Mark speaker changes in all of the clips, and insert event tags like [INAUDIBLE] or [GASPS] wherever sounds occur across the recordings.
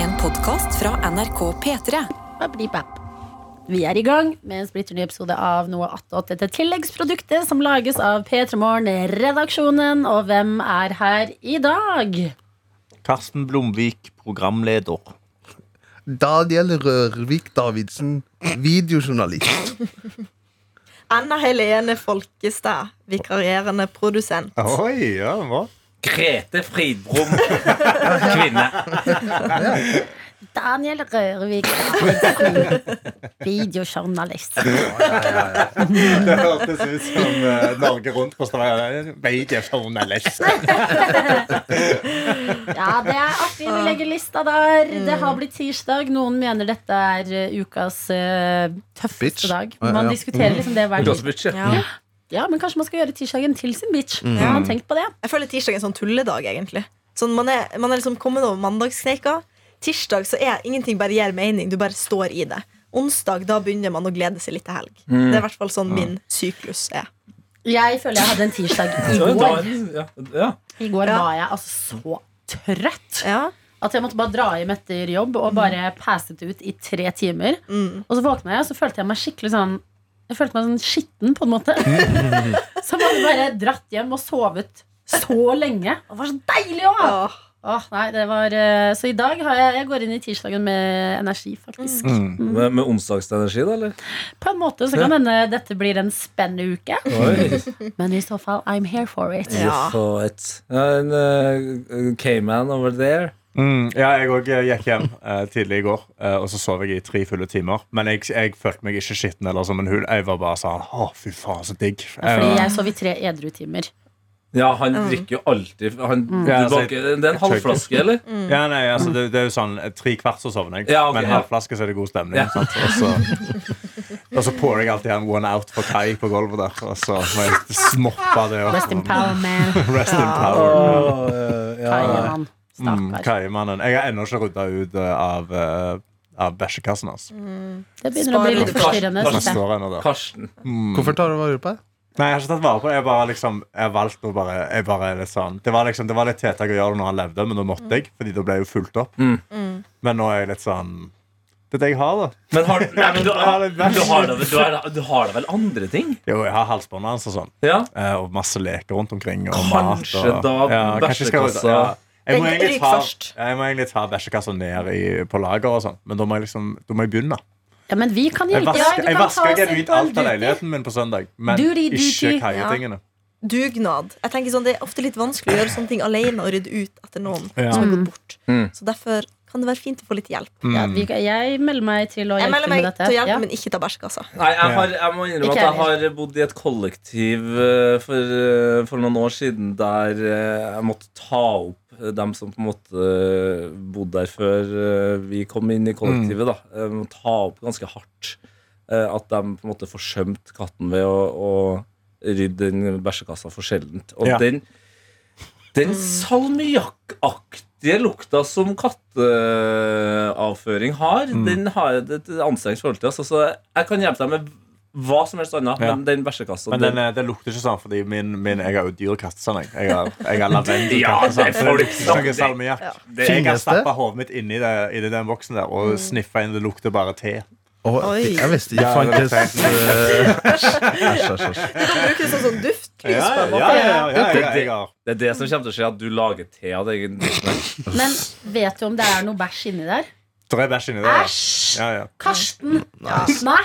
Speaker 1: En podkast fra NRK P3.
Speaker 2: Bablibap. Vi er i gang med en splitter ny episode av Noe attåt. Dette tilleggsproduktet som lages av P3 Morgen-redaksjonen. Og hvem er her i dag?
Speaker 3: Karsten Blomvik, programleder.
Speaker 4: Daniel Rørvik Davidsen, videojournalist.
Speaker 5: Anna Helene Folkestad, vikarierende produsent.
Speaker 6: Oi, ja, bra.
Speaker 3: Grete Fridbrom, kvinne.
Speaker 2: Daniel Rørvik.
Speaker 4: [LAUGHS]
Speaker 2: Videojournalist.
Speaker 6: Det hørtes ut som eh, Norge Rundt på Stavanger. Mediejournalist.
Speaker 2: Ja, det er artig. Vi legger lista der. Det har blitt tirsdag. Noen mener dette er eh, ukas eh, tøffeste
Speaker 4: Bitch.
Speaker 2: dag.
Speaker 4: Ja,
Speaker 2: Man
Speaker 4: ja.
Speaker 2: diskuterer liksom det hver
Speaker 7: Mm.
Speaker 2: dag.
Speaker 5: Ja.
Speaker 2: Ja, men kanskje man skal gjøre tirsdagen til sin bitch.
Speaker 4: Mm.
Speaker 2: Har man tenkt på det?
Speaker 5: Jeg føler tirsdag er en sånn tulledag, egentlig. Sånn, man, er, man er liksom kommet over mandagssneika. Tirsdag så er ingenting bare gir mening, du bare står i det. Onsdag da begynner man å glede seg litt til helg.
Speaker 6: Mm.
Speaker 5: Det er i hvert fall sånn min syklus er.
Speaker 2: Jeg føler jeg hadde en tirsdag i går.
Speaker 7: Ja, ja.
Speaker 2: I går
Speaker 5: Ja.
Speaker 2: var jeg altså så trøtt
Speaker 5: Ja,
Speaker 2: at jeg måtte bare dra hjem etter jobb og bare passet ut i tre timer. Og så våkna jeg, og så følte jeg meg skikkelig sånn Jeg følte meg sånn skitten, på en måte. så jeg hadde bare dratt hjem og sovet så lenge. Og det var så deilig òg!
Speaker 5: Åh,
Speaker 2: Åh, nei, det var eh, Så i dag har jeg, jeg går inn i tirsdagen med energi, faktisk.
Speaker 7: Med, med onsdagsenergi, da, eller?
Speaker 2: På en måte så kan hende dette blir en spennende uke.
Speaker 7: Oi.
Speaker 2: Men i så fall, I'm here for it.
Speaker 5: Ja.
Speaker 7: For et- Ja, en eh, K-man over there.
Speaker 6: Mm, ja, jeg òg gikk hjem eh, tidlig i går, eh, og så sov jeg i tre fulle timer. Men jeg, jeg følte meg ikke skitten eller som en hul. Jeg var bare sånn Å, fy faen, så digg. Eh, Jeg
Speaker 2: Fordi
Speaker 6: var-
Speaker 2: jeg sov i tre edru timer.
Speaker 7: Ja, han drikker jo alltid han, du
Speaker 6: Ja, altså,
Speaker 7: baker, Det er en halvflaske, eller?
Speaker 6: ja, nei, altså, det, det er jo sånn eh, tre kvart så sovner jeg,
Speaker 7: Ja, ok,
Speaker 6: men
Speaker 7: ja.
Speaker 6: halvflaske så er det god stemning.
Speaker 7: Ja.
Speaker 6: Sant? Og så, og så påler jeg alltid en one out for Kai på gulvet der, og så må jeg smoppe det. Og,
Speaker 2: Rest in power, man.
Speaker 6: Rest in power.
Speaker 7: Åh, ja.
Speaker 2: Kaiemann.
Speaker 6: Mm,
Speaker 2: Stakkar.
Speaker 6: Kaimannen. Jeg har ennå ikke rydda ut eh, av, eh, av bæsjekassen hans.
Speaker 2: Det begynner å bli litt
Speaker 5: Spar-
Speaker 2: forstyrrende.
Speaker 6: Den
Speaker 2: synes jeg.
Speaker 6: står ennå der.
Speaker 7: Karsten.
Speaker 6: Mm.
Speaker 4: Hvorfor tar du vare på det?
Speaker 6: Nei, jeg har ikke tatt vare på det. Jeg bare liksom, jeg valgte å bare, jeg bare er litt sånn Det var liksom, det var litt tiltak å gjøre det når han levde, men da måtte jeg, fordi da ble jeg jo fulgt opp.
Speaker 7: Mm.
Speaker 6: Men nå er jeg litt sånn Det er det jeg har, da.
Speaker 7: Men har, nei, men du,
Speaker 6: Ja, det er verst.
Speaker 7: du, har da, vel- du, har, du har da vel andre ting?
Speaker 6: Jo, jeg har halsbåndet hans og sånn.
Speaker 7: Ja.
Speaker 6: eh, Og masse leker rundt omkring. Og
Speaker 7: Kanskje
Speaker 6: mat, og,
Speaker 7: da
Speaker 6: kanskje jeg skal-
Speaker 7: bæsjekassa-
Speaker 6: Jeg må,
Speaker 5: Den
Speaker 6: egentlig
Speaker 5: ryker
Speaker 6: ta,
Speaker 5: først.
Speaker 6: jeg må egentlig ta bæsjekassa ned i, på lager og sånn, men da må jeg liksom, da må jeg begynne.
Speaker 2: Ja, men vi kan
Speaker 6: Jeg
Speaker 2: hjelpe. Ja, du
Speaker 6: vasker,
Speaker 2: kan
Speaker 6: jeg
Speaker 2: ta
Speaker 6: vasker
Speaker 2: oss
Speaker 6: genuint
Speaker 2: en
Speaker 6: alt av
Speaker 2: duty.
Speaker 6: leiligheten min på søndag, men
Speaker 2: Duty,
Speaker 6: ikke
Speaker 2: duty.
Speaker 6: kaietingene.
Speaker 5: Dugnad. Jeg tenker sånn, Det er ofte litt vanskelig å gjøre sånne ting alene og rydde ut etter noen som har gått bort.
Speaker 6: Mm.
Speaker 5: Så derfor kan det være fint å få litt hjelp.
Speaker 2: Ja, vi, kan- jeg melder meg til å
Speaker 5: Jeg
Speaker 2: hjelpe
Speaker 5: melder
Speaker 2: med
Speaker 5: meg
Speaker 2: dette.
Speaker 5: til å hjelpe,
Speaker 2: Ja.
Speaker 5: men ikke ta bæsjekassa.
Speaker 7: Nei, jeg, har, jeg må innrømme
Speaker 2: Ikke
Speaker 7: at jeg
Speaker 2: heller.
Speaker 7: har bodd i et kollektiv eh, for, eh, for noen år siden der eh, jeg måtte ta opp dem som på en måte eh, bodde der før eh, vi kom inn i kollektivet. da Eh, Jeg må ta opp ganske hardt eh, at de på en måte forsømte katten ved å, å rydde den bæsjekassa for sjeldent. Og
Speaker 6: Ja.
Speaker 7: den,
Speaker 4: Mm.
Speaker 7: den salmiakkaktige lukta som katteavføring har,
Speaker 6: Mm.
Speaker 7: den har jeg et anstrengt forhold til. Altså, så jeg kan hjelpe deg med hva som helst annet,
Speaker 6: Ja.
Speaker 7: men den bæsjekassa
Speaker 6: Men den, eh, det lukter ikke sånn, fordi min, min jeg har jo dyr kattesand. Jeg. Jeg, har- jeg har lavendel sånn.
Speaker 7: Ja, det er folk som-
Speaker 6: salmiakk.
Speaker 7: det-
Speaker 6: Jeg har
Speaker 4: Finnes det?
Speaker 6: stappa hodet mitt inni, det, inni den boksen der og sniffa inn. Det lukter bare te.
Speaker 4: Å,
Speaker 5: Oi.
Speaker 4: jeg visste ikke
Speaker 6: Ja,
Speaker 4: fantes
Speaker 6: det
Speaker 4: eh, [LAUGHS] æsj, æsj, æsj.
Speaker 5: Du kan bruke det som sånn duftlys.
Speaker 6: Ja,
Speaker 5: på en måte.
Speaker 6: ja, ja, ja, jeg- jeg har-
Speaker 7: Det er det som kommer til å skje, at du lager te av deg.
Speaker 6: [LAUGHS]
Speaker 2: Men vet du om det er noe bæsj inni der?
Speaker 6: Det er bæsj inni der.
Speaker 2: Æsj!
Speaker 6: Ja, ja.
Speaker 2: Karsten! Nei,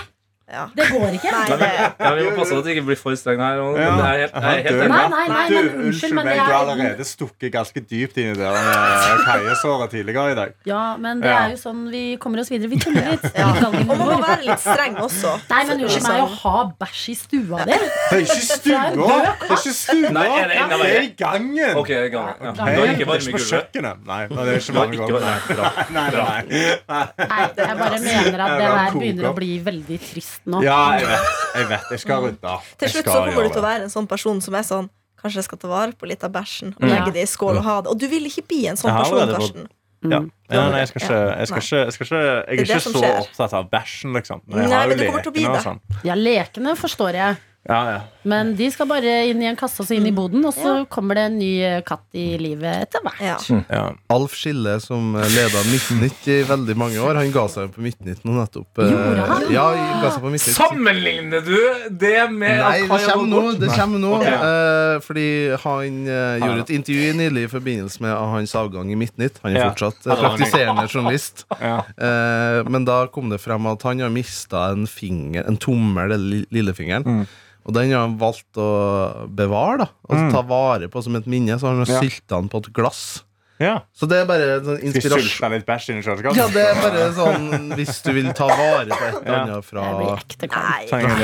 Speaker 5: Ja.
Speaker 2: det går ikke.
Speaker 5: Nei, det
Speaker 7: Ja, vi må passe på at det ikke blir for streng her. og-
Speaker 6: Ja.
Speaker 7: men Jeg er helt, jeg er helt
Speaker 6: Aha,
Speaker 7: enig.
Speaker 2: Nei, nei, nei,
Speaker 6: Du,
Speaker 2: men
Speaker 6: unnskyld
Speaker 2: unnskyld, men
Speaker 6: meg,
Speaker 2: jeg
Speaker 6: du har
Speaker 2: er
Speaker 6: allerede stukket ganske dypt inni der med kaiesåret tidligere i dag.
Speaker 2: Ja, men det
Speaker 6: Ja.
Speaker 2: er jo sånn vi kommer oss videre. Vi tuller litt.
Speaker 5: Ja.
Speaker 2: Litt galgenhumor.
Speaker 5: Og man må være litt streng også.
Speaker 2: Nei, men unnskyld meg å ha bæsj i stua di.
Speaker 6: Det er ikke stua! Det er ikke stua!
Speaker 7: Nei, er det enda
Speaker 6: Det er i
Speaker 7: verre?
Speaker 6: gangen!
Speaker 7: Ok, jeg er gammel.
Speaker 6: Hei,
Speaker 7: ja. Du har
Speaker 6: det
Speaker 7: ikke
Speaker 6: er ikke på
Speaker 7: varmegulvet.
Speaker 6: kjøkkenet. Nei, det er ikke
Speaker 7: Du har ikke
Speaker 6: varmegulvet.
Speaker 7: varmegulvet. Bra.
Speaker 6: Nei, nei, nei.
Speaker 2: Nei, jeg bare mener at det
Speaker 6: Jeg var
Speaker 2: her begynner
Speaker 6: koka.
Speaker 2: å bli veldig trist nå.
Speaker 6: Ja, jeg vet. Jeg vet, jeg skal rydde.
Speaker 5: Til slutt så kommer du til å være en sånn person som er sånn Kanskje jeg skal ta vare på litt av bæsjen og legge det i skål og ha det. Og du vil ikke bli en sånn
Speaker 6: Jeg har
Speaker 5: person,
Speaker 6: allerede fått-
Speaker 5: Karsten.
Speaker 6: Ja. Ja, nei, jeg skal ikke Jeg, skal ikke, jeg, skal ikke, jeg
Speaker 5: Mm. Det er
Speaker 6: er
Speaker 5: det
Speaker 6: ikke
Speaker 5: som
Speaker 6: så
Speaker 5: skjer.
Speaker 6: opptatt av bæsjen, liksom. Men
Speaker 5: Nei,
Speaker 6: jeg har jo
Speaker 5: men det kommer til å bli
Speaker 6: lekene og
Speaker 5: det.
Speaker 6: sånn.
Speaker 2: Ja, lekene forstår jeg.
Speaker 6: Ja, ja.
Speaker 2: Men de skal bare inn i en kasse og så
Speaker 5: Mm.
Speaker 2: inn i boden, og så kommer det en ny eh, katt i livet etter hvert.
Speaker 5: Ja.
Speaker 6: Ja.
Speaker 4: Alf Skille, som leda Midtnytt i veldig mange år, han ga seg på Midtnytt nå nettopp.
Speaker 2: Gjorde han?
Speaker 4: Ja, han ga seg på Midtnytt.
Speaker 8: Sammenligner du det
Speaker 7: Eh,
Speaker 8: med at
Speaker 4: Nei, det
Speaker 8: Kai
Speaker 4: kommer nå.
Speaker 8: Agon-
Speaker 4: Det kommer nå
Speaker 8: Ok.
Speaker 4: eh, fordi han eh, gjorde et intervju nylig i forbindelse med hans avgang i Midtnytt. Han er
Speaker 6: Ja.
Speaker 4: fortsatt eh, praktiserende journalist.
Speaker 6: [LAUGHS] Ja.
Speaker 4: Eh, men da kom det frem at han har mista en finger, en tommel, eller li- lillefingeren.
Speaker 6: Mm.
Speaker 4: Og den har han valgt å bevare, da. Altså ta vare på som et minne. Så han har
Speaker 6: Mm. Ja.
Speaker 4: sylta den på et glass.
Speaker 6: Ja.
Speaker 4: Så det er bare en sånn
Speaker 6: Skal jeg
Speaker 4: inspirasjon.
Speaker 6: sulte litt bæsj inn i kjøleskapet?
Speaker 4: Ja, det er bare sånn hvis du vil ta vare på et eller
Speaker 6: Ja.
Speaker 4: annet fra
Speaker 2: Jeg blir ekte kvalm.
Speaker 5: Nei,
Speaker 6: Trenger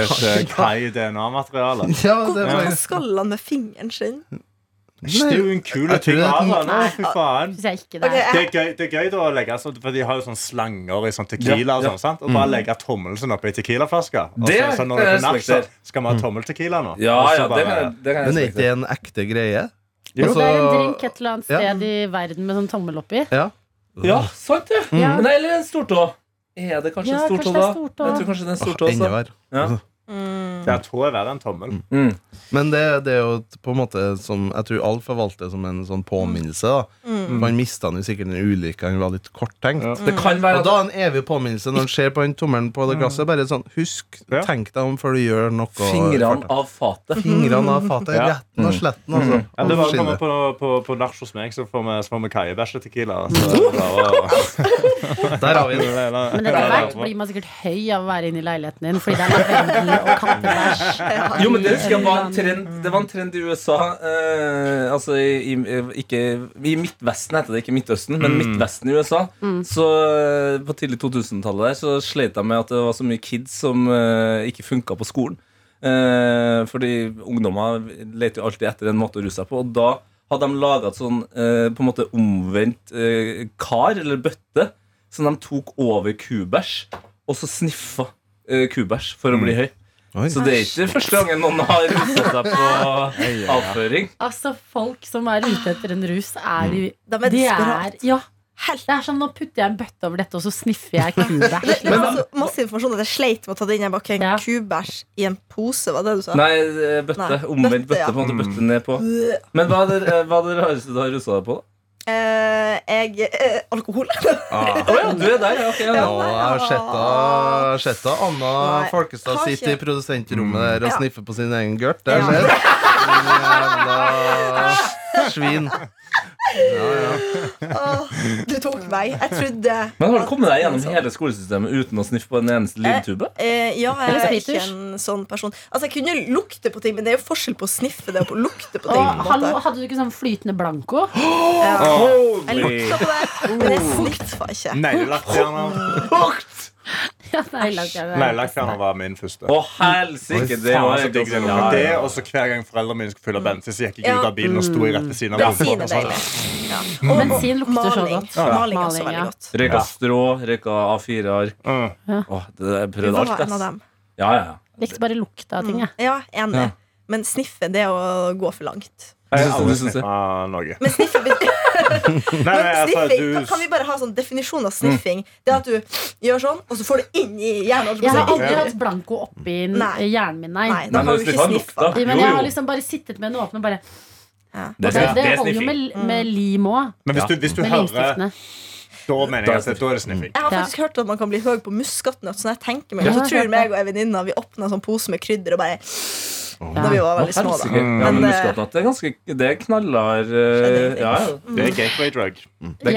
Speaker 6: litt
Speaker 5: [LAUGHS]
Speaker 6: eh, Kai-DNA-materiale.
Speaker 4: Ja, det er
Speaker 5: hvordan
Speaker 4: bare
Speaker 5: skal han med fingeren sin?
Speaker 6: Det er jo en kul
Speaker 4: Jeg tror
Speaker 6: ting sånn. å ha.
Speaker 4: det er-
Speaker 6: da. Nå, Fy faen.
Speaker 2: Syns jeg ikke det.
Speaker 5: Ok,
Speaker 2: er-
Speaker 6: Det
Speaker 5: jeg,
Speaker 6: er gøy, det er gøy da å legge sånn, For de har jo sånne slanger i sånn tequila og
Speaker 7: Ja, Mm.
Speaker 6: sånn, sant? Og bare legge tommelen sin oppi tequilaflaska. Og
Speaker 7: Det
Speaker 6: så- så når
Speaker 7: kan
Speaker 6: det
Speaker 7: jeg
Speaker 6: er natt, så
Speaker 7: respektere.
Speaker 6: skal vi ha tommeltequila nå.
Speaker 7: Mm. Ja,
Speaker 6: Og så
Speaker 7: ja, det kan
Speaker 6: bare-
Speaker 7: jeg, Altså- det kan jeg
Speaker 4: Men er ikke
Speaker 7: respektere.
Speaker 4: det en ekte greie?
Speaker 6: Jo.
Speaker 2: det er en drink et eller annet
Speaker 4: Ja.
Speaker 2: sted i verden med sånn tommel oppi.
Speaker 4: Ja.
Speaker 7: Ja, sant det.
Speaker 4: Mm.
Speaker 2: Ja.
Speaker 7: Men nei, eller en stortå. Er det kanskje
Speaker 2: Ja,
Speaker 7: en stortå,
Speaker 2: kanskje
Speaker 7: da?
Speaker 2: det er stortå.
Speaker 7: Jeg tror kanskje det er en
Speaker 4: Ah,
Speaker 7: stortå
Speaker 4: enda
Speaker 7: også.
Speaker 4: verre.
Speaker 7: Ja.
Speaker 5: Mm.
Speaker 6: Det er tå er verre enn tommel.
Speaker 7: Mm.
Speaker 4: Men det, det er jo et- på en måte som Jeg tror alle forvalter det som en sånn påminnelse. da
Speaker 5: Mm.
Speaker 6: Mm.
Speaker 4: For Han mista han jo sikkert en ulykke, han var litt korttenkt.
Speaker 7: Det kan
Speaker 4: Og
Speaker 7: være
Speaker 4: da
Speaker 7: at
Speaker 4: er en evig påminnelse når han ser på den tommelen på det glasset. Bare sånn, husk,
Speaker 6: Mm. Ja.
Speaker 4: tenk deg om før du gjør noe.
Speaker 7: fingrene av fatet
Speaker 4: Fingrene av fatet.
Speaker 6: Ja. Mm.
Speaker 4: Retten og sletten, altså.
Speaker 6: Ja, det er bare å komme
Speaker 4: Skille.
Speaker 6: på, på, på nach hos meg, så får vi, så får vi kaiebæsje-tequila. Så bare-
Speaker 4: Der har vi
Speaker 6: [LAUGHS]
Speaker 4: den.
Speaker 2: Men etter hvert blir man sikkert høy av å være inne i leiligheten din fordi det er lavendel og
Speaker 5: [LAUGHS]
Speaker 2: kattebæsj.
Speaker 7: Jo, men det husker jeg var en trend Det var en trend i USA eh, Altså i, i, ikke, I Midtvesten heter det ikke Midtøsten Men Midtvesten i USA Så eh, på tidlig 2000-tallet der Så slet jeg med at det var så mye kids Som eh, ikke funket på skolen eh, Fordi ungdommer Leter jo alltid etter en måte å ruse seg på Og da hadde de laget sånn eh, På en måte omvendt eh, kar Eller bøtte Som de tok over kubæsj Og så sniffa eh, kubæsj for å bli høy
Speaker 4: Oi.
Speaker 7: så det er ikke første gangen noen har ruset seg på avføring.
Speaker 2: Altså, folk som er ute etter en rus, er de
Speaker 5: de er
Speaker 2: De
Speaker 5: Mm. desperat.
Speaker 2: er Ja.
Speaker 5: Helt.
Speaker 2: Det er sånn, nå putter jeg en bøtte over dette, og så sniffer jeg
Speaker 5: [LAUGHS]
Speaker 2: kubæsj.
Speaker 5: Men altså, masse informasjon at jeg sleit med å ta det inn. Jeg bakker en
Speaker 2: Ja.
Speaker 5: kubæsj i en pose, var det du sa?
Speaker 7: Nei, eh, bøtte.
Speaker 5: Nei,
Speaker 7: Omvendt
Speaker 5: bøtte,
Speaker 7: bøtte.
Speaker 5: ja.
Speaker 7: på en måte bøtte ned på Men hva er det, eh, hva er det rareste du har ruset deg på? da?
Speaker 5: Eh, jeg eh, Alkohol.
Speaker 7: Å ja, du er der, ja. ok, ja.
Speaker 4: Ja, jeg har sett henne- sett henne. Anna
Speaker 5: Nei,
Speaker 4: Folkestad
Speaker 5: har
Speaker 4: sitter i
Speaker 5: ikke-
Speaker 4: produsentrommet der og
Speaker 5: Ja.
Speaker 4: sniffer på sin egen gørt. Det skjer. Jævla
Speaker 5: [LAUGHS] Ja. [LAUGHS]
Speaker 4: svin.
Speaker 5: Åh, du tok meg. Jeg trodde
Speaker 7: Men har du kommet deg gjennom hele skolesystemet uten å sniffe på en eneste lydtube?
Speaker 5: Eh, ja, jeg
Speaker 2: Eller
Speaker 5: er ikke
Speaker 2: sprittusj.
Speaker 5: en sånn person. Altså, Jeg kunne lukte på ting, men det er jo forskjell på å sniffe det og på å lukte på ting.
Speaker 2: Og
Speaker 5: på en
Speaker 2: hallo,
Speaker 5: måte.
Speaker 2: hadde du ikke sånn flytende blanco? [GASPS]
Speaker 5: Ja. Jeg
Speaker 7: Holy
Speaker 5: lukta på det, men jeg sniffa ikke.
Speaker 6: Neglelakkfjerner
Speaker 2: Ja, nei, langt jeg-
Speaker 6: Neglelakkfjerner var min første.
Speaker 7: Å, helsike! Det
Speaker 6: Faen,
Speaker 7: var
Speaker 6: så
Speaker 7: helt
Speaker 6: digg det var.
Speaker 7: Ja,
Speaker 6: Det,
Speaker 7: ja.
Speaker 6: og så Hver gang foreldrene mine skulle fylle bensin, så gikk jeg
Speaker 5: Ja.
Speaker 6: ut av bilen og sto i rett ved siden av.
Speaker 5: Bensin
Speaker 6: dem.
Speaker 5: er deilig.
Speaker 7: sånn.
Speaker 5: Ja.
Speaker 7: Mm.
Speaker 5: Og- og
Speaker 2: Bensin lukter så
Speaker 5: maling.
Speaker 2: godt.
Speaker 5: Maling er
Speaker 2: Maling,
Speaker 5: også veldig
Speaker 2: ja.
Speaker 5: godt.
Speaker 7: Røyka strå, røyka A4-ark.
Speaker 6: Mm.
Speaker 7: Åh, det der jeg
Speaker 5: Du
Speaker 7: prøvde
Speaker 5: var
Speaker 7: alt,
Speaker 5: en av
Speaker 7: ass.
Speaker 5: dem.
Speaker 7: Ja, ja.
Speaker 2: Likte bare lukta av ting, jeg.
Speaker 5: Ja, enig.
Speaker 7: Ja.
Speaker 5: Men sniffe, det er å gå for langt.
Speaker 7: Jeg
Speaker 6: Jeg har aldri
Speaker 7: synes det.
Speaker 6: sniffet noe.
Speaker 5: Men sniffe
Speaker 6: Ah, [LAUGHS] Nei,
Speaker 5: Men
Speaker 6: nei, altså,
Speaker 5: sniffing,
Speaker 6: du-
Speaker 5: kan- Kan vi bare ha sånn definisjon
Speaker 7: Mm.
Speaker 5: av sniffing? Det er at du gjør sånn, og så får du inn i hjernen.
Speaker 2: Jeg har
Speaker 5: og så-
Speaker 2: aldri hatt blanco oppi n-
Speaker 5: Nei.
Speaker 2: hjernen min, nei.
Speaker 5: Nei, da
Speaker 7: Nei,
Speaker 5: har
Speaker 7: men
Speaker 5: du
Speaker 7: sniffa
Speaker 5: ikke sniffa.
Speaker 7: lukta.
Speaker 2: Men
Speaker 7: Jo,
Speaker 2: jeg har
Speaker 7: jo.
Speaker 2: liksom bare sittet med den åpen og bare
Speaker 7: Det
Speaker 2: Det,
Speaker 7: er
Speaker 2: det
Speaker 7: sniffing.
Speaker 2: holder jo med, med lim òg.
Speaker 6: Men hvis du, hvis du
Speaker 2: Med
Speaker 6: hører
Speaker 2: limstiftene.
Speaker 6: Da mener jeg at det- da er det sniffing.
Speaker 5: Jeg har
Speaker 2: Ja.
Speaker 5: faktisk hørt at man kan bli høy på muskatnøtt. Så når jeg tenker meg,
Speaker 2: Ja,
Speaker 5: så
Speaker 2: jeg
Speaker 5: tror
Speaker 2: hørte
Speaker 5: meg og ei venninne vi åpna sånn pose med krydder og bare Da vi var
Speaker 7: Å,
Speaker 5: veldig små,
Speaker 7: helsike.
Speaker 5: da.
Speaker 7: Ja, men
Speaker 5: Men, eh,
Speaker 7: muskatnatt, det er ganske Det er knallhard eh, Ja, ja.
Speaker 6: Mm. [LAUGHS] Det er gateway drug.
Speaker 2: Jeg,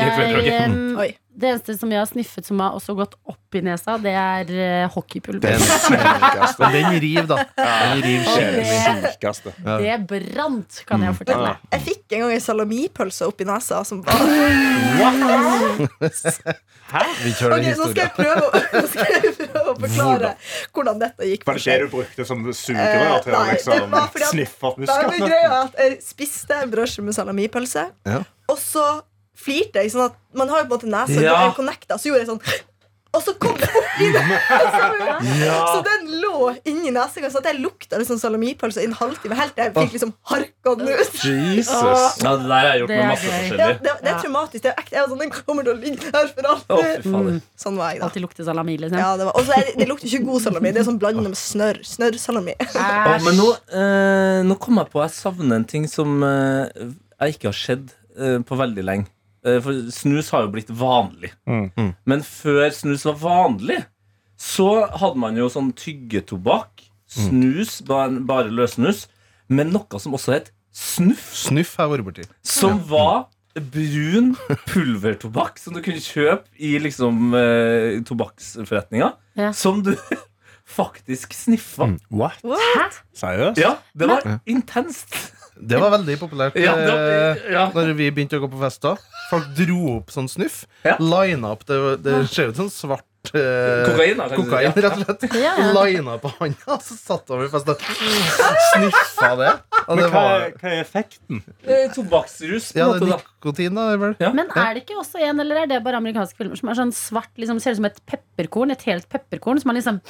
Speaker 2: em,
Speaker 5: Oi.
Speaker 2: det eneste som jeg har sniffet som har også gått opp i nesa, det er eh, hockeypulver.
Speaker 4: Den Men den river, da. Den river skikkelig.
Speaker 5: Mm.
Speaker 6: Sykeste.
Speaker 2: Det, brant, kan jeg fortelle.
Speaker 6: Ja.
Speaker 5: Jeg fikk en gang ei salamipølse oppi nesa
Speaker 7: [LAUGHS]
Speaker 5: som var
Speaker 4: Vi kjører
Speaker 5: Ok,
Speaker 4: den
Speaker 5: nå skal jeg
Speaker 4: historien.
Speaker 5: prøve å, [LAUGHS] nå skal jeg prøve å forklare hvordan dette gikk.
Speaker 6: Var det det du brukte som sugerør til å
Speaker 5: Eh, nei, det
Speaker 6: liksom
Speaker 5: var fordi at-
Speaker 6: sniffe opp
Speaker 5: Nei, men
Speaker 6: muskatene?
Speaker 5: greia er at Jeg spiste en brødskive med salamipølse,
Speaker 4: Ja.
Speaker 5: og så flirte jeg. sånn at Man har jo på en måte nesa,
Speaker 7: Ja.
Speaker 5: og jeg connecta, så gjorde jeg sånn og så kom det opp i det. sånn, Så den lå inni nesegården, så at jeg lukta liksom salamipølse i en halvtime. Helt til jeg fikk liksom harka den ut.
Speaker 4: Jesus.
Speaker 7: Ja, det der har jeg gjort
Speaker 2: Det er
Speaker 7: med masse
Speaker 2: gøy.
Speaker 5: Ja,
Speaker 7: forskjellig.
Speaker 5: det, det er traumatisk. Det er ekte. Jeg var sånn, Den kommer til å ligge her for
Speaker 7: Å, fy
Speaker 5: alltid.
Speaker 7: fader.
Speaker 5: Sånn var jeg, da.
Speaker 2: Alltid lukter salami, liksom.
Speaker 5: Ja, det var, og så er det, det lukter ikke god salami. Det er sånn blandende med snørr. Snørrsalami.
Speaker 7: Å, men nå, eh, nå kom jeg på at jeg savner en ting som eh, jeg ikke har sett eh, på veldig lenge. Eh, for snus har jo blitt vanlig. Men før snus var vanlig, så hadde man jo sånn tyggetobakk, snus, bare, bare løssnus, men noe som også het snuff.
Speaker 4: Snuff har jeg vært borti.
Speaker 7: Som var brun pulvertobakk som du kunne kjøpe i liksom eh, tobakksforretninga.
Speaker 2: Ja.
Speaker 7: Som du [LAUGHS] faktisk sniffa.
Speaker 4: Mm.
Speaker 6: What?
Speaker 2: Hæ?
Speaker 6: Seriøst?
Speaker 7: Ja, det var intenst.
Speaker 4: Det var veldig populært
Speaker 7: Ja, det
Speaker 4: eh,
Speaker 7: var, ja.
Speaker 4: når vi begynte å gå på fester. Folk dro opp sånn snuff.
Speaker 7: Ja.
Speaker 4: Lina opp Det, det ser ut som svart eh,
Speaker 7: Kokain, da. kanskje.
Speaker 4: kokain, rett og slett.
Speaker 2: Ja, ja.
Speaker 4: Lina på hånda, og så satt de i fest og sniffa det. Og det
Speaker 6: Men hva,
Speaker 4: var
Speaker 6: hva er effekten?
Speaker 7: Eh, Tobakksrus, på
Speaker 4: Ja,
Speaker 7: en
Speaker 4: det er
Speaker 7: måte. da
Speaker 4: nikotin, da. er det Vel.
Speaker 2: Men er det ikke også en, eller er det bare amerikanske filmer som er sånn svart, liksom, ser ut som et pepperkorn? Et helt pepperkorn som er liksom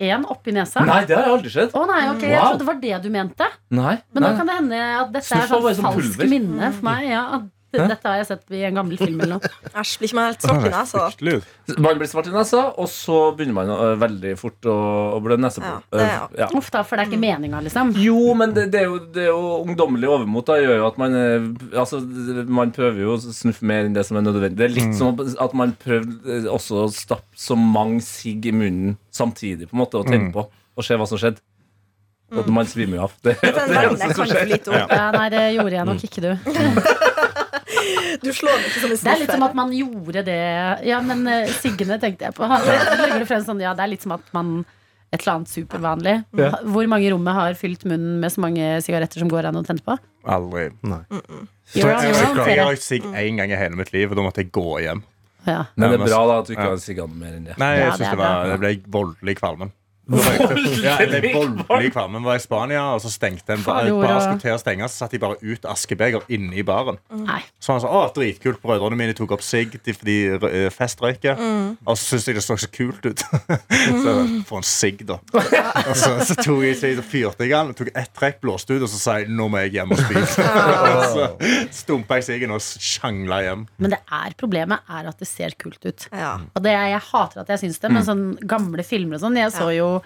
Speaker 2: én oppi nesa?
Speaker 7: Nei, det har jeg aldri sett.
Speaker 2: Å nei, ok, jeg
Speaker 7: Wow.
Speaker 2: trodde det var det du mente.
Speaker 7: Nei,
Speaker 2: Men
Speaker 7: nei.
Speaker 2: da kan det hende at dette
Speaker 7: Snuffa
Speaker 2: er sånn
Speaker 7: var jo som
Speaker 2: falsk
Speaker 7: pulver.
Speaker 2: minne for meg. Ja, at d- dette har jeg sett i en gammel film eller noe.
Speaker 5: Æsj, blir ikke man helt svart i nesa da?
Speaker 6: Fryktelig ut.
Speaker 7: Man blir svart i nesa, og så begynner man ø, veldig fort å, å blø
Speaker 5: Ja,
Speaker 7: neseblod.
Speaker 5: det er
Speaker 7: Eh, Ja.
Speaker 2: Uff da, for det er ikke meninga, liksom.
Speaker 7: Jo, men det, det, er jo, det er jo ungdommelig overmot. Da gjør jo at man eh, Altså, man prøver jo å snuffe mer enn det som er nødvendig. Det er litt som at man prøver eh, også å stappe så mange sigg i munnen samtidig, på en måte, og tenke på, og se hva som skjedde. At man svimer jo av. Det, det,
Speaker 5: Dette er en verden jeg kan for lite om.
Speaker 2: Ja, nei, det gjorde jeg nok ikke, du.
Speaker 5: Du slår meg ikke som en
Speaker 2: Det er litt som
Speaker 5: sniffer.
Speaker 2: at man gjorde det Ja, men eh, Signe tenkte jeg på. Han legger det frem sånn, ja, det er litt som at man et eller annet supervanlig. Hvor mange i rommet har fylt munnen med så mange sigaretter som går an å tenne på?
Speaker 6: Aldri.
Speaker 2: You're on your own,
Speaker 6: Jeg
Speaker 2: Tere.
Speaker 6: har røykt sigg én gang i hele mitt liv, og da måtte jeg gå hjem.
Speaker 2: Ja.
Speaker 7: men det er bra da at du ikke har sigga mer enn [LAUGHS] det.
Speaker 6: Nei,
Speaker 2: Ja,
Speaker 6: jeg
Speaker 2: det
Speaker 6: synes
Speaker 2: er
Speaker 6: det, var,
Speaker 2: bra.
Speaker 6: det ble voldelig kvalmen. Da
Speaker 7: [LAUGHS]
Speaker 6: røykte- Ja, jeg ble voldelig kvalmen. Var i Spania, og så stengte en bar.
Speaker 2: Fader,
Speaker 6: En bar
Speaker 2: Ola.
Speaker 6: skulle til å stenge, så satt de bare ut askebeger inne i baren.
Speaker 2: Nei.
Speaker 6: Så han sa å, dritkult, brødrene mine tok opp sigg de- for de rø- eh, festrøyker.
Speaker 2: Mm.
Speaker 6: Og så syntes jeg det så så kult ut. [LAUGHS] så få en sigg,
Speaker 2: [LAUGHS]
Speaker 6: da. og så, så tok jeg sigg, så fyrte jeg den, tok ett trekk, blåste ut, og så sa jeg nå må jeg hjem og
Speaker 2: [LAUGHS]
Speaker 6: spise. [LAUGHS] og så stumpa jeg siggen og sjangla hjem.
Speaker 2: Men det er problemet er at det ser kult ut.
Speaker 5: Ja.
Speaker 2: Og det er, jeg hater at jeg syns det, men sånn gamle filmer og sånn Jeg så jo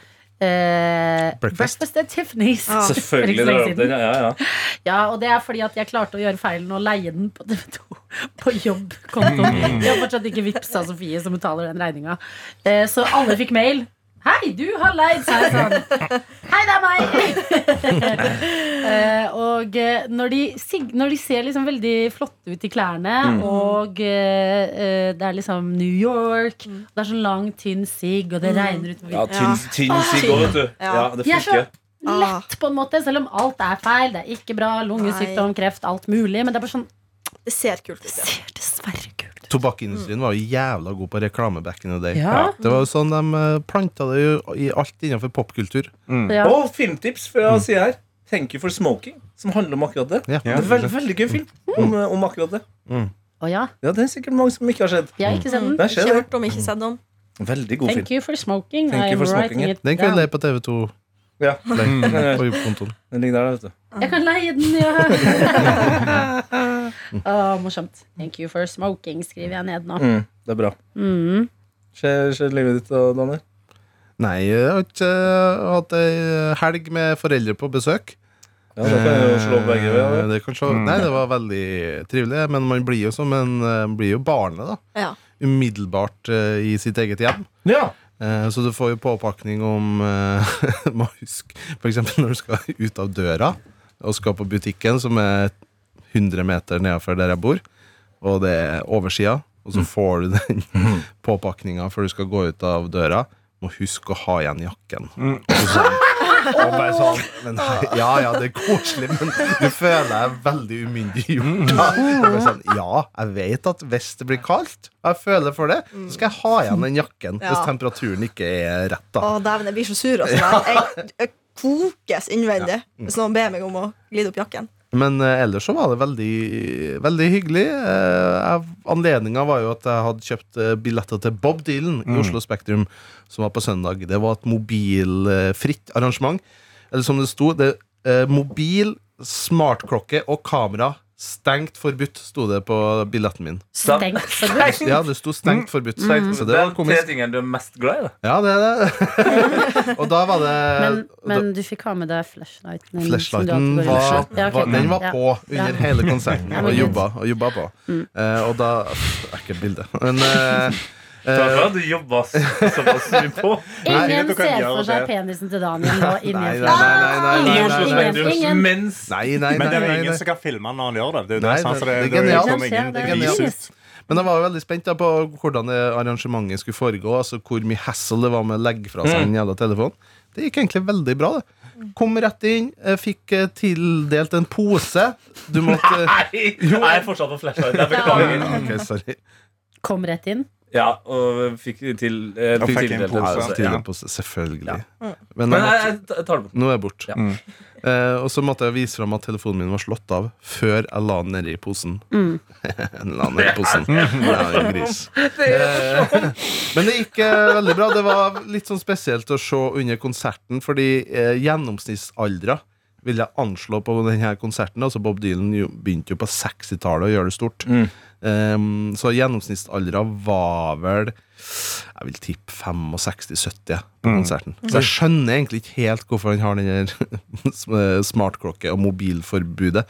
Speaker 2: eh,
Speaker 4: Breakfast.
Speaker 2: Breakfast at Tiffany's.
Speaker 5: Ja.
Speaker 7: Selvfølgelig. Det,
Speaker 2: For ikke så
Speaker 7: er
Speaker 2: lenge
Speaker 7: jo- det, ja, ja.
Speaker 2: Ja, og det er fordi at jeg klarte å gjøre feilen og leie den på TV2 på jobbkontoen. Jeg har fortsatt ikke vippsa Sofie, som betaler den regninga. Eh, så alle fikk mail. Hei, du har leid seg sånn. Hei, det er meg! [LAUGHS] eh, og eh, når de, sig- når de ser liksom veldig flotte ut i klærne, og eh, eh, det er liksom New York, og det er sånn lang, tynn sigg, og det regner utover
Speaker 7: ja tynn, tynn sigg òg, vet du.
Speaker 5: Ja.
Speaker 7: Ja, det
Speaker 2: de er så
Speaker 7: funker.
Speaker 2: lett, på en måte, selv om alt er feil. Det er ikke bra. Lungesykdom, kreft, alt mulig. Men det er bare sånn
Speaker 5: Det ser kult ut.
Speaker 2: Det
Speaker 5: Ja.
Speaker 2: ser dessverre kult ut.
Speaker 4: Tobakkindustrien var jo jævla god på reklame back in the day.
Speaker 2: Ja.
Speaker 4: Det var jo sånn De eh, planta det jo i alt innenfor popkultur.
Speaker 2: Ja.
Speaker 7: Og filmtips før jeg sier her. Thank you for smoking, som handler om akkurat det.
Speaker 4: Ja.
Speaker 7: Det er veldig, veldig gøy film om, eh, om akkurat det.
Speaker 2: Å ja.
Speaker 7: Ja, Det er sikkert mange som ikke har sett.
Speaker 2: Jeg har ikke sett den.
Speaker 7: Det
Speaker 5: Ikke
Speaker 7: skjer, det.
Speaker 5: hørt om, ikke sett om.
Speaker 7: Veldig god film.
Speaker 2: Thank you for smoking.
Speaker 7: Thank you for
Speaker 2: I'm writing
Speaker 7: smoking
Speaker 2: it
Speaker 4: Den kan
Speaker 2: down.
Speaker 4: vi leie på TV2.
Speaker 7: Ja. Mm.
Speaker 4: Leie [LAUGHS] på jobbkontoen.
Speaker 7: Den ligger der, vet du.
Speaker 2: Jeg kan leie den, ja. Å, morsomt. Thank you for smoking, skriver jeg ned nå.
Speaker 7: Mm, det er bra.
Speaker 2: Mm.
Speaker 7: Skjer, skjer livet ditt da, Daniel?
Speaker 4: Nei, jeg har ikke eh, hatt ei helg med foreldre på besøk.
Speaker 7: Ja, da kan jeg jo slå begge ved.
Speaker 4: Eh,
Speaker 7: da. Mm.
Speaker 4: det kan slå. Nei, det var veldig trivelig, men man blir jo som en eh, man blir jo barnet, da.
Speaker 5: Ja.
Speaker 4: Umiddelbart eh, i sitt eget hjem.
Speaker 7: Ja.
Speaker 4: Eh, Så du får jo påpakning om eh, [LAUGHS] Må huske f.eks. når du skal ut av døra og skal på butikken, som er 100 meter nedenfor der jeg bor, og det er oversida, og så får du [LAUGHS] den påpakninga før du skal gå ut av døra. Må huske å ha igjen jakken. Og så- Mm. [LAUGHS] og bare sånn, men, ja ja, det er koselig, men du føler deg veldig [LAUGHS] umyndiggjort. da. Bare Sånn, ja, jeg vet at hvis det blir kaldt, og jeg føler for det, så skal jeg ha igjen den jakken.
Speaker 5: Ja.
Speaker 4: Hvis temperaturen ikke er rett, da.
Speaker 5: Å, dæven, jeg blir så sur. Altså. Jeg, jeg kokes innvendig hvis noen ber meg om å glide opp jakken.
Speaker 4: Men eh, ellers så var det veldig, veldig hyggelig. Eh, jeg- Anledninga var jo at jeg hadde kjøpt eh, billetter til Bob Dylan i Oslo Spektrum, som var på søndag. Det var et mobilfritt arrangement. Eller som det sto, det eh, mobil, smartklokke og kamera stengt forbudt, sto det på billetten min.
Speaker 2: Stengt forbudt.
Speaker 4: Ja, det sto stengt forbudt. Så det
Speaker 7: Det
Speaker 4: var
Speaker 7: er tre
Speaker 4: komisk.
Speaker 7: tingene du er mest glad i. Da.
Speaker 4: Ja, det er det. og da var det
Speaker 2: Men, men du fikk ha med deg flashlighten. din, Mm, som du
Speaker 4: Flashlighten
Speaker 2: alltid går i
Speaker 4: var,
Speaker 2: dusjen. Ja, ok.
Speaker 4: var, den var
Speaker 2: Ja.
Speaker 4: på under
Speaker 2: Ja.
Speaker 4: hele konserten
Speaker 2: Ja, men Mm.
Speaker 4: og
Speaker 2: gud.
Speaker 4: jobba, og jobba på. Eh, og da Det er ikke et bilde. Men eh,
Speaker 7: Det var
Speaker 4: eh,
Speaker 7: bra at Du jobba så- såpass mye
Speaker 2: [LAUGHS]
Speaker 7: på.
Speaker 6: Nei,
Speaker 2: Ingen
Speaker 6: du kan
Speaker 2: ser
Speaker 6: gjøre
Speaker 2: for seg
Speaker 6: det.
Speaker 2: penisen til Daniel nå inni
Speaker 4: Nei,
Speaker 2: en
Speaker 4: nei, nei, nei, nei,
Speaker 7: I
Speaker 2: Ingen-
Speaker 7: Oslo
Speaker 2: ingen-
Speaker 7: Spektrum,
Speaker 2: ingen-
Speaker 7: mens
Speaker 4: Nei, nei,
Speaker 6: Men det
Speaker 4: nei,
Speaker 6: er jo
Speaker 4: nei,
Speaker 6: ingen
Speaker 4: nei.
Speaker 6: som kan filme han når han gjør det. Det er jo
Speaker 4: Nei,
Speaker 6: det, sant?
Speaker 4: det-
Speaker 6: Så det,
Speaker 4: det er
Speaker 6: det,
Speaker 4: genialt.
Speaker 6: kommer
Speaker 2: Det er
Speaker 6: ingen
Speaker 2: genialt.
Speaker 6: vis ut.
Speaker 4: Men jeg var jo veldig spent da på hvordan det arrangementet skulle foregå. Altså Hvor mye hassle det var med å legge fra
Speaker 6: Mm.
Speaker 4: seg den jævla telefonen. Det gikk egentlig veldig bra. det Kom rett inn, eh, fikk eh, tildelt en pose. Du måtte
Speaker 6: [LAUGHS]
Speaker 7: Nei, jeg er fortsatt på flashlight. Jeg beklager.
Speaker 4: Ok, sorry.
Speaker 2: Kom rett inn.
Speaker 7: Ja, og fikk til eh,
Speaker 6: Og fikk en
Speaker 7: tildelt
Speaker 6: pose.
Speaker 4: Ja,
Speaker 7: en pose,
Speaker 4: tildelt
Speaker 7: ja.
Speaker 4: en pose, selvfølgelig. Men jeg
Speaker 7: Men jeg,
Speaker 4: måtte,
Speaker 7: jeg jeg tar det bort.
Speaker 4: nå er jeg borte.
Speaker 7: Ja.
Speaker 4: Eh, og så måtte jeg vise fram at telefonen min var slått av før jeg la den nedi posen. Den la den nedi posen. Ja, en gris. Eh, Men det gikk eh, veldig bra. Det var litt sånn spesielt å se under konserten, fordi eh, gjennomsnittsaldra vil jeg anslå på denne konserten. Altså Bob Dylan jo, begynte jo på 60-tallet å gjøre det stort. Eh, så gjennomsnittsaldra var vel Jeg vil tippe 65-70 på konserten. Så jeg skjønner egentlig ikke helt hvorfor han har den der [LAUGHS] sm- eh, smartklokke- og mobilforbudet.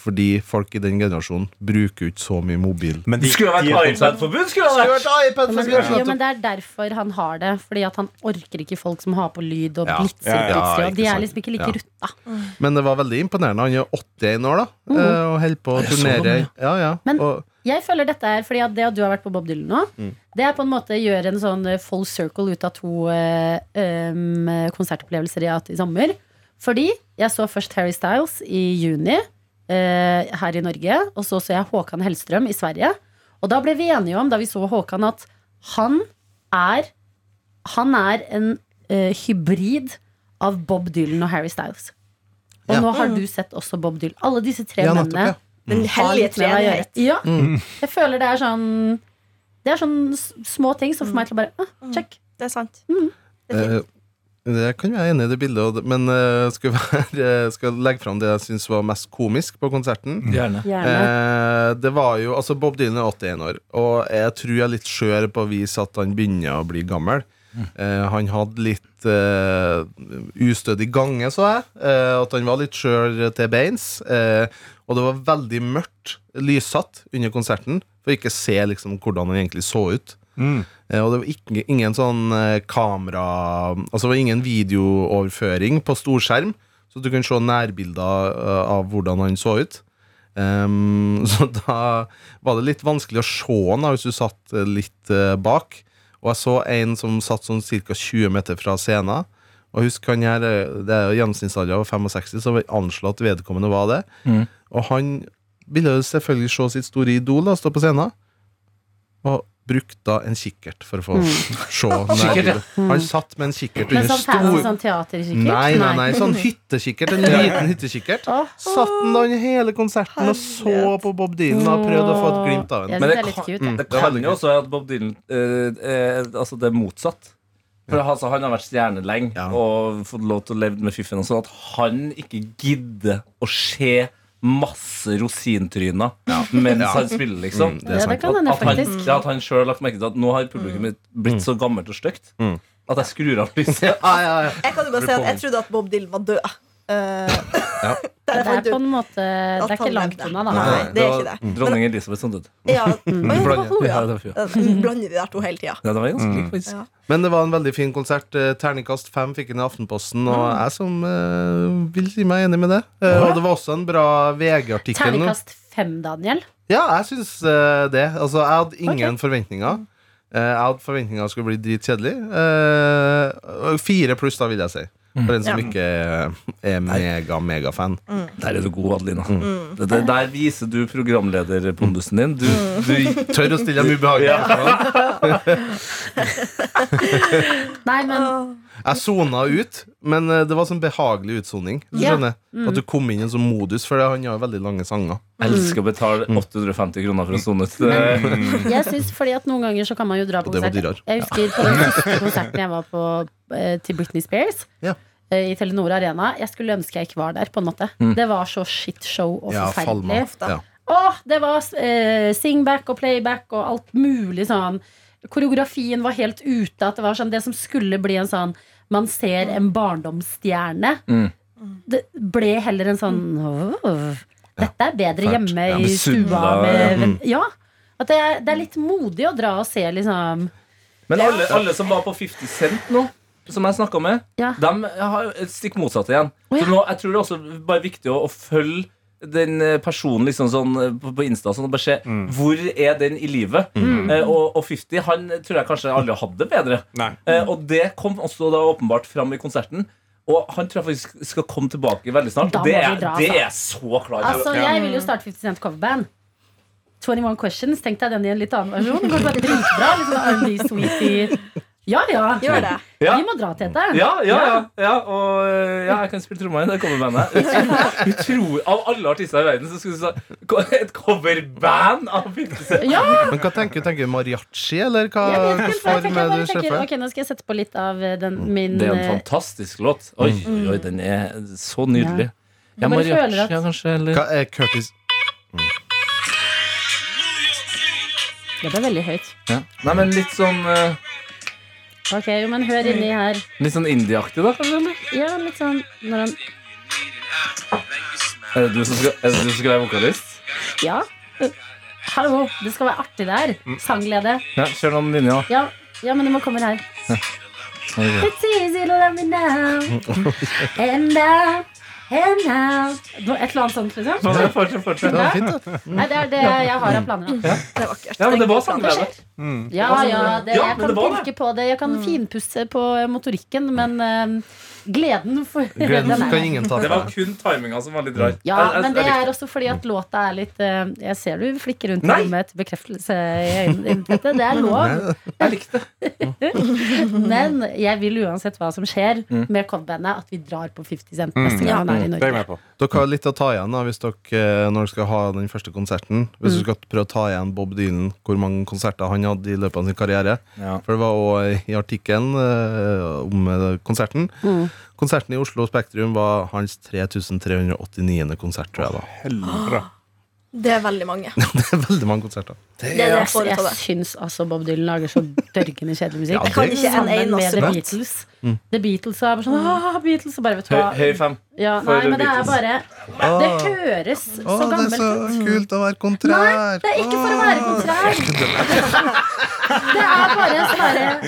Speaker 4: Fordi folk i den generasjonen bruker jo ikke så mye mobil.
Speaker 6: Men de,
Speaker 7: Skulle det
Speaker 6: de,
Speaker 7: vært iPad-forbud? Skulle det vært
Speaker 2: Jo, men, jo, men Det er derfor han har det. Fordi at han orker ikke folk som har på lyd og
Speaker 4: Ja.
Speaker 2: blitser.
Speaker 6: Ja, ja,
Speaker 2: blitser, og
Speaker 4: ikke
Speaker 2: de er
Speaker 4: sant.
Speaker 2: liksom ikke like
Speaker 4: Ja.
Speaker 2: rutta.
Speaker 4: Men det var veldig imponerende. Han er 81 år da eh, og holder på å turnere. Ja, ja.
Speaker 2: Mm. Men-
Speaker 4: og,
Speaker 2: Jeg føler dette er fordi at det at du har vært på Bob Dylan nå,
Speaker 4: Mm.
Speaker 2: det er på en måte gjør en sånn eh, full circle ut av to eh, em, konsertopplevelser jeg har hatt i sommer. Fordi jeg så først Harry Styles i juni eh, her i Norge, og så så jeg Håkan Hellstrøm i Sverige. Og da ble vi enige om, da vi så Håkan, at han er Han er en eh, hybrid av Bob Dylan og Harry Styles. Og
Speaker 4: Ja.
Speaker 2: nå har du sett også Bob Dylan. Alle disse tre
Speaker 4: Ja, nettopp,
Speaker 2: mennene
Speaker 4: ja.
Speaker 5: Den
Speaker 2: har
Speaker 5: hellige
Speaker 2: litt med deg å gjøre.
Speaker 5: treenighet.
Speaker 2: Ja.
Speaker 4: Mm.
Speaker 2: Jeg føler det er sånn Det er sånn s- små ting som får meg til å bare ah, check.
Speaker 5: Det er sant.
Speaker 2: Mm.
Speaker 4: Eh, det kan jeg være enig i det bildet, og det- men eh, skal, være, eh, skal legge fram det jeg syns var mest komisk på konserten.
Speaker 7: Gjerne.
Speaker 2: Gjerne.
Speaker 4: Eh, det var jo, altså Bob Dylan er 81 år, og jeg tror jeg er litt skjør på å vise at han begynner å bli gammel. Eh, han hadde litt eh, ustødig gange, så jeg. Eh, at han var litt skjør til beins. Eh, og det var veldig mørkt lyssatt under konserten, for ikke se liksom hvordan han egentlig så ut. Eh, Og det var ikke, ingen sånn eh, kamera Altså det var ingen videooverføring på storskjerm, så du kunne se nærbilder eh, av hvordan han så ut. Ehm, [LAUGHS] så da var det litt vanskelig å se han da, hvis du satt eh, litt eh, bak. Og jeg så en som satt sånn ca. 20 meter fra scenen. Og husk, han her, eh, det er jo gjennomsnittsalder av 65, så vi anslår at vedkommende var det. Og han ville jo selvfølgelig se sitt store idol da, stå på scenen. Og brukte da en kikkert for å få se nærbildet. Han satt med en kikkert
Speaker 2: Mm. Men
Speaker 4: under
Speaker 2: sånn fancy
Speaker 4: stor
Speaker 2: sånn teaterkikkert?
Speaker 4: Nei, nei, nei, sånn hyttekikkert. En liten hyttekikkert.
Speaker 2: Åh.
Speaker 4: Satt den da under hele konserten og så
Speaker 5: Herlighet.
Speaker 4: på Bob Dylan og prøvde å få et glimt av
Speaker 2: Jeg
Speaker 4: den.
Speaker 2: synes
Speaker 7: Men
Speaker 2: det
Speaker 7: det
Speaker 2: er litt
Speaker 7: kan-
Speaker 2: cute. jeg.
Speaker 4: Det
Speaker 7: Det
Speaker 4: er
Speaker 7: kan
Speaker 4: veldig
Speaker 7: jo også være at Bob Dylan eh, eh, Altså, det er motsatt. For altså, Han har vært stjerne lenge
Speaker 4: Ja.
Speaker 7: og fått lov til å leve med fiffen. Og sånn at han ikke gidder å se masse rosintryner mens
Speaker 4: Ja.
Speaker 7: han spiller, liksom.
Speaker 4: Mm, det er
Speaker 2: Ja, det
Speaker 4: sant.
Speaker 2: kan hende,
Speaker 7: at han,
Speaker 2: faktisk. Mm.
Speaker 7: ja, at han sjøl har lagt merke til at nå har publikum mitt blitt
Speaker 4: Mm.
Speaker 7: så gammelt og stygt at jeg skrur av lyset.
Speaker 4: [LAUGHS] Ja, ja, ja.
Speaker 5: Jeg kan jo bare si at jeg trodde at Bob Dylan var død. Eh,
Speaker 4: Ja.
Speaker 5: der
Speaker 2: Det
Speaker 5: jeg fant
Speaker 2: er på
Speaker 5: ut.
Speaker 2: en måte Det er ikke
Speaker 5: han
Speaker 2: langt
Speaker 5: levde.
Speaker 2: unna, da.
Speaker 5: Nei, det er
Speaker 4: da-
Speaker 5: ikke det.
Speaker 7: Dronning Elisabeth som døde.
Speaker 5: Ja, men det var hun, ja.
Speaker 7: Ja, det var hun,
Speaker 5: Ja, vi Blander de der to hele tida.
Speaker 7: Ja, det var ganske
Speaker 4: Mm.
Speaker 7: lik, faktisk.
Speaker 5: Ja.
Speaker 4: Men det var en veldig fin konsert. Eh, Terningkast fem fikk den i Aftenposten, og jeg som eh, vil si meg enig med det. Eh, og det var også en bra VG-artikkel. nå.
Speaker 2: Terningkast fem, Daniel.
Speaker 4: Ja, jeg syns eh, det. Altså, jeg hadde ingen forventninger. Eh, jeg hadde forventninger at det skulle bli dritkjedelig. Eh, og fire pluss, da, vil jeg si. For en som
Speaker 5: Ja.
Speaker 4: ikke er- er mega-megafan.
Speaker 7: Der er du god, Adelina.
Speaker 4: Mm.
Speaker 7: Det, det, der viser du programlederpondusen din. Du,
Speaker 2: Mm.
Speaker 7: du,
Speaker 4: Tør å stille dem ubehagelige spørsmål.
Speaker 2: Nei, men
Speaker 4: Jeg sona ut, men eh, det var sånn behagelig utsoning. Du
Speaker 2: Ja. Mm.
Speaker 4: skjønner At du kom inn i en sånn modus, for han har jo veldig lange sanger.
Speaker 7: jeg
Speaker 2: Mm.
Speaker 7: elsker å betale 850 kroner for å sone ut. Eh,
Speaker 2: Jeg synes, fordi at Noen ganger så kan man jo dra på
Speaker 4: Og det var
Speaker 2: konsert.
Speaker 4: dyrere.
Speaker 2: Jeg husker på den siste konserten jeg var på eh, til Britney Spears.
Speaker 4: Ja.
Speaker 2: eh, I Telenor Arena. Jeg skulle ønske jeg ikke var der. på en måte Det var så shitshow og
Speaker 4: Mm. Ja,
Speaker 2: forferdelig.
Speaker 4: Falma. Ja.
Speaker 2: Åh, det var eh, singback og playback og alt mulig sånn. Koreografien var helt ute. At det var sånn det som skulle bli en sånn Man ser en barndomsstjerne.
Speaker 7: Mm.
Speaker 2: Det ble heller en sånn «Åh, Dette er bedre
Speaker 4: fælt.
Speaker 2: hjemme
Speaker 4: Ja,
Speaker 2: i
Speaker 7: misunnelig,
Speaker 2: stua
Speaker 7: ja. Mm.
Speaker 2: med Ja. At det er, det er litt modig å dra og se, liksom.
Speaker 7: [LAUGHS] Men alle, alle som var på 50 Cent nå, som jeg snakka med,
Speaker 2: Ja.
Speaker 7: de har et stikk motsatt igjen.
Speaker 2: Å, ja.
Speaker 7: For nå, jeg tror det er også bare viktig å, å følge den eh, personen liksom sånn eh, på på Insta sånn, og bare se hvor er den i livet. Eh, og, og 50 han tror jeg kanskje aldri hadde det bedre.
Speaker 6: Nei.
Speaker 7: Eh, og det kom også da åpenbart fram i konserten. Og han tror jeg faktisk skal komme tilbake veldig snart.
Speaker 2: Da
Speaker 7: Det
Speaker 2: må vi
Speaker 7: er,
Speaker 2: dra, altså.
Speaker 7: det er jeg så klar for.
Speaker 2: Altså, Jeg vil jo starte 50 Cent coverband. 21 Questions. Tenk deg den i en litt annen versjon. Det går bare dritbra. Liksom R&B, sweetie. Ja, ja.
Speaker 5: Gjør det.
Speaker 7: Ja.
Speaker 2: Vi må dra til dette.
Speaker 7: Ja, ja, ja, ja, og øh, ja, jeg kan spille trommer i det coverbandet. Utro- utro- Av alle artister i verden så skulle du sagt ko- et coverband av 50 Cent.
Speaker 2: Ja,
Speaker 4: Men hva tenker du? Tenker du mariachi, eller hva
Speaker 2: jeg vet ikke,
Speaker 4: hvilken
Speaker 2: for jeg
Speaker 4: form
Speaker 2: tenker
Speaker 4: er
Speaker 2: bare
Speaker 4: det du ser
Speaker 2: tenker,
Speaker 4: for deg? Mm,
Speaker 2: Ok, nå skal jeg sette på litt av eh, den, min
Speaker 7: Det er jo en
Speaker 2: eh, Mm.
Speaker 7: fantastisk låt. Oi, oi, den er så nydelig. Ja,
Speaker 2: bare
Speaker 7: mariachi,
Speaker 2: føler at-
Speaker 7: ja, kanskje, eller
Speaker 4: Hva er Curtis
Speaker 2: Det ble veldig høyt.
Speaker 7: ja. Nei, men litt sånn øh,
Speaker 2: Ok, jo, men hør inni her.
Speaker 7: Litt sånn indieaktig, da, kanskje? eller?
Speaker 2: Ja, litt sånn når han
Speaker 7: Er det du som skal, er det du som skal være vokalist?
Speaker 2: Ja. Eh, Hallo, det skal være artig der.
Speaker 4: Mm.
Speaker 2: Sanglede.
Speaker 7: Ja, Kjør noen linjer,
Speaker 2: Ja, ja men du må komme
Speaker 4: [LAUGHS]
Speaker 2: her.
Speaker 7: da. Ok.
Speaker 2: It's easy to let me now. And now, and now. Nå, Et eller annet sånt, liksom.
Speaker 7: Ja, Fortsett, fortsett.
Speaker 4: Det var fint, da.
Speaker 2: Nei, det er det jeg har av planer. da.
Speaker 5: Det er vakkert.
Speaker 7: Ja, men det var sånn.
Speaker 5: Det
Speaker 7: sanglever.
Speaker 5: skjer.
Speaker 2: Ja, ja, det,
Speaker 7: Ja,
Speaker 2: jeg
Speaker 7: men
Speaker 2: kan
Speaker 7: det var det.
Speaker 2: pirke på det. Jeg kan finpusse på motorikken, men eh, gleden for
Speaker 4: Gleden
Speaker 2: [LAUGHS] den er
Speaker 4: kan ingen ta
Speaker 7: Det
Speaker 4: fra
Speaker 7: var
Speaker 4: deg.
Speaker 7: kun timinga som var litt rar.
Speaker 2: Ja,
Speaker 7: Jeg- jeg-
Speaker 2: men det
Speaker 7: jeg likte
Speaker 2: er også fordi at låta er litt eh, Jeg ser du flikker rundt
Speaker 7: Nei.
Speaker 2: med et bekreftelse i øynene dine. Tete. Det er lov.
Speaker 7: Jeg likte det.
Speaker 2: [LAUGHS] Men jeg vil uansett hva som skjer
Speaker 7: Mm.
Speaker 2: med coverbandet, at vi drar på 50 Cent neste gang han er i
Speaker 6: Det er jeg
Speaker 2: Norge.
Speaker 6: med på.
Speaker 4: Dere har litt å ta igjen da, hvis dere, eh, når dere skal ha den første konserten. Hvis
Speaker 2: Mm.
Speaker 4: du skal prøve å ta igjen Bob Dylan, hvor mange konserter han hadde i løpet av sin karriere.
Speaker 7: Ja.
Speaker 4: For det var òg i artikkelen eh, om eh, konserten.
Speaker 2: Mm.
Speaker 4: Konserten i Oslo Spektrum var hans 3389. konsert, tror jeg. da
Speaker 6: Helvete.
Speaker 5: Det er veldig mange.
Speaker 4: Det er [LAUGHS] veldig mange konserter.
Speaker 5: Det er det jeg
Speaker 2: Jeg,
Speaker 5: får ut av
Speaker 2: jeg
Speaker 5: det.
Speaker 2: syns altså Bob Dylan lager så dørgende kjedelig musikk.
Speaker 4: Ja, Jeg kan det-
Speaker 5: ikke en
Speaker 2: Sammen med
Speaker 5: eneste
Speaker 2: The
Speaker 5: låt.
Speaker 2: Beatles. The Beatles er bare sånn ah, Beatles og bare vet du
Speaker 7: Høy,
Speaker 2: hva.
Speaker 7: høy fem.
Speaker 2: Ja,
Speaker 7: for
Speaker 2: nei, men det er
Speaker 7: Beatles.
Speaker 2: bare Det
Speaker 4: Åh.
Speaker 2: høres
Speaker 4: Å,
Speaker 2: så
Speaker 4: Ah. det er
Speaker 2: gammelt
Speaker 4: så Ah.
Speaker 2: ut.
Speaker 4: kult å være kontrær!
Speaker 2: Nei, det er ikke for å være kontrær. Det er bare sånn [LAUGHS] herre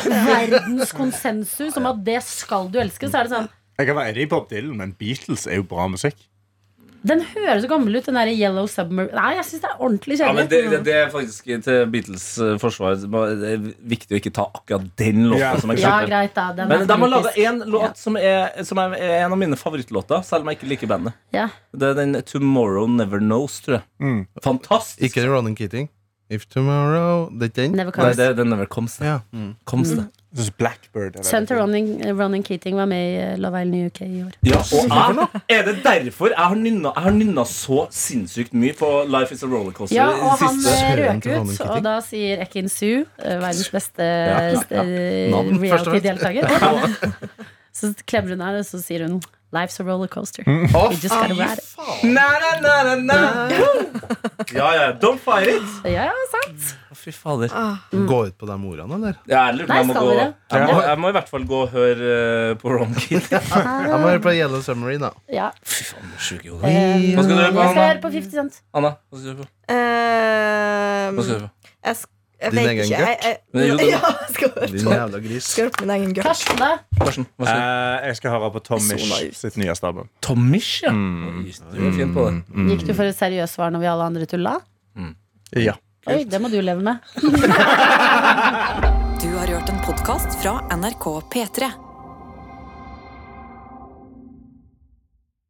Speaker 2: sånn verdenskonsensus om at det skal du elske. Så er det sånn
Speaker 6: Jeg kan være enig i Bob Dylan, men Beatles er jo bra musikk.
Speaker 2: Den høres så gammel ut, den derre Yellow Submarine. Nei, jeg syns det er ordentlig
Speaker 7: Ja, men
Speaker 2: kjedelig.
Speaker 7: det, det, det er faktisk til Beatles eh, forsvar Det er viktig å ikke ta akkurat den låta
Speaker 6: Ja.
Speaker 7: som
Speaker 2: Ja,
Speaker 7: eksempel.
Speaker 2: greit, da. Den
Speaker 7: men
Speaker 2: er
Speaker 7: de har laga
Speaker 2: politisk.
Speaker 7: én låt som, er, som er er en av mine favorittlåter, selv om jeg ikke liker bandet.
Speaker 2: Ja.
Speaker 7: Det er den 'Tomorrow Never Knows', tror jeg.
Speaker 6: Mm.
Speaker 7: Fantastisk!
Speaker 4: Ikke Ronan Keating. If tomorrow Det er ikke den?
Speaker 2: Never
Speaker 7: Nei,
Speaker 2: comes.
Speaker 7: det, den never comes. Det.
Speaker 4: Ja.
Speaker 7: Comes, det.
Speaker 2: Mm.
Speaker 6: Jeg synes Blackbird er
Speaker 2: Sønnen til
Speaker 6: veldig
Speaker 2: Ronan, Ronan Keating var med i eh, Love Island i UK i år.
Speaker 7: Ja, og jeg, er det derfor jeg har nynna, jeg har nynna så sinnssykt mye på 'Life Is A Rollercoaster'?
Speaker 2: Ja,
Speaker 7: i det
Speaker 2: og han
Speaker 7: siste.
Speaker 2: eh,
Speaker 4: Søren
Speaker 2: røk
Speaker 4: til
Speaker 2: ut,
Speaker 4: Ronan Keating.
Speaker 2: og da sier Ekin Su, eh, verdens beste
Speaker 7: ja, ja.
Speaker 2: eh,
Speaker 7: Navn,
Speaker 4: først og fremst.
Speaker 7: [LAUGHS]
Speaker 2: reality-deltaker, [LAUGHS] så klemmer hun her, og så sier hun Life's a rollercoaster.
Speaker 7: Mm.
Speaker 4: Å,
Speaker 2: You just gotta ride it.
Speaker 7: Na, na, na, na, na. Ja, ja. Don't fight it!
Speaker 2: Ja, sant.
Speaker 7: Å, Fy fader.
Speaker 4: Gå ut på de ordene, eller?
Speaker 7: Ja, jeg lurer på om
Speaker 2: Mm. Nei,
Speaker 7: jeg må
Speaker 2: skal
Speaker 7: gå
Speaker 2: dere?
Speaker 7: jeg må, jeg må i hvert fall gå og høre eh, på Ron Kidd.
Speaker 4: Jeg må høre på Yellow Submarine, da.
Speaker 2: Ja.
Speaker 7: [LAUGHS] Fy faen, du er sjuk i hodet.
Speaker 2: Eh,
Speaker 7: Hva skal du gjøre på,
Speaker 2: Jeg skal
Speaker 7: Anna?
Speaker 2: høre på 50 Cent.
Speaker 7: Anna, hva skal du gjøre på?
Speaker 5: Ehm,
Speaker 7: Hva skal du gjøre på?
Speaker 5: jeg, sk- jeg
Speaker 4: Din
Speaker 5: vet
Speaker 4: egen
Speaker 5: ikke. Jeg, jeg,
Speaker 7: Men jo, det-
Speaker 5: [LAUGHS] ja, jeg skal høre på-
Speaker 4: Din jævla gris.
Speaker 5: skal høre på min egen gutt.
Speaker 2: Karsten, da?
Speaker 7: Karsten, hva skal du gjøre?
Speaker 6: Eh, jeg skal høre på Tom
Speaker 5: Jeg sona ut.
Speaker 6: Misch sitt nye album.
Speaker 7: Tommish, ja. Mm. Oi, Du er fin på det.
Speaker 2: Gikk du for et seriøst svar når vi alle andre tulla?
Speaker 7: Mm.
Speaker 6: Ja.
Speaker 2: Oi, det må du leve med.
Speaker 1: Du har hørt en podkast fra NRK P3.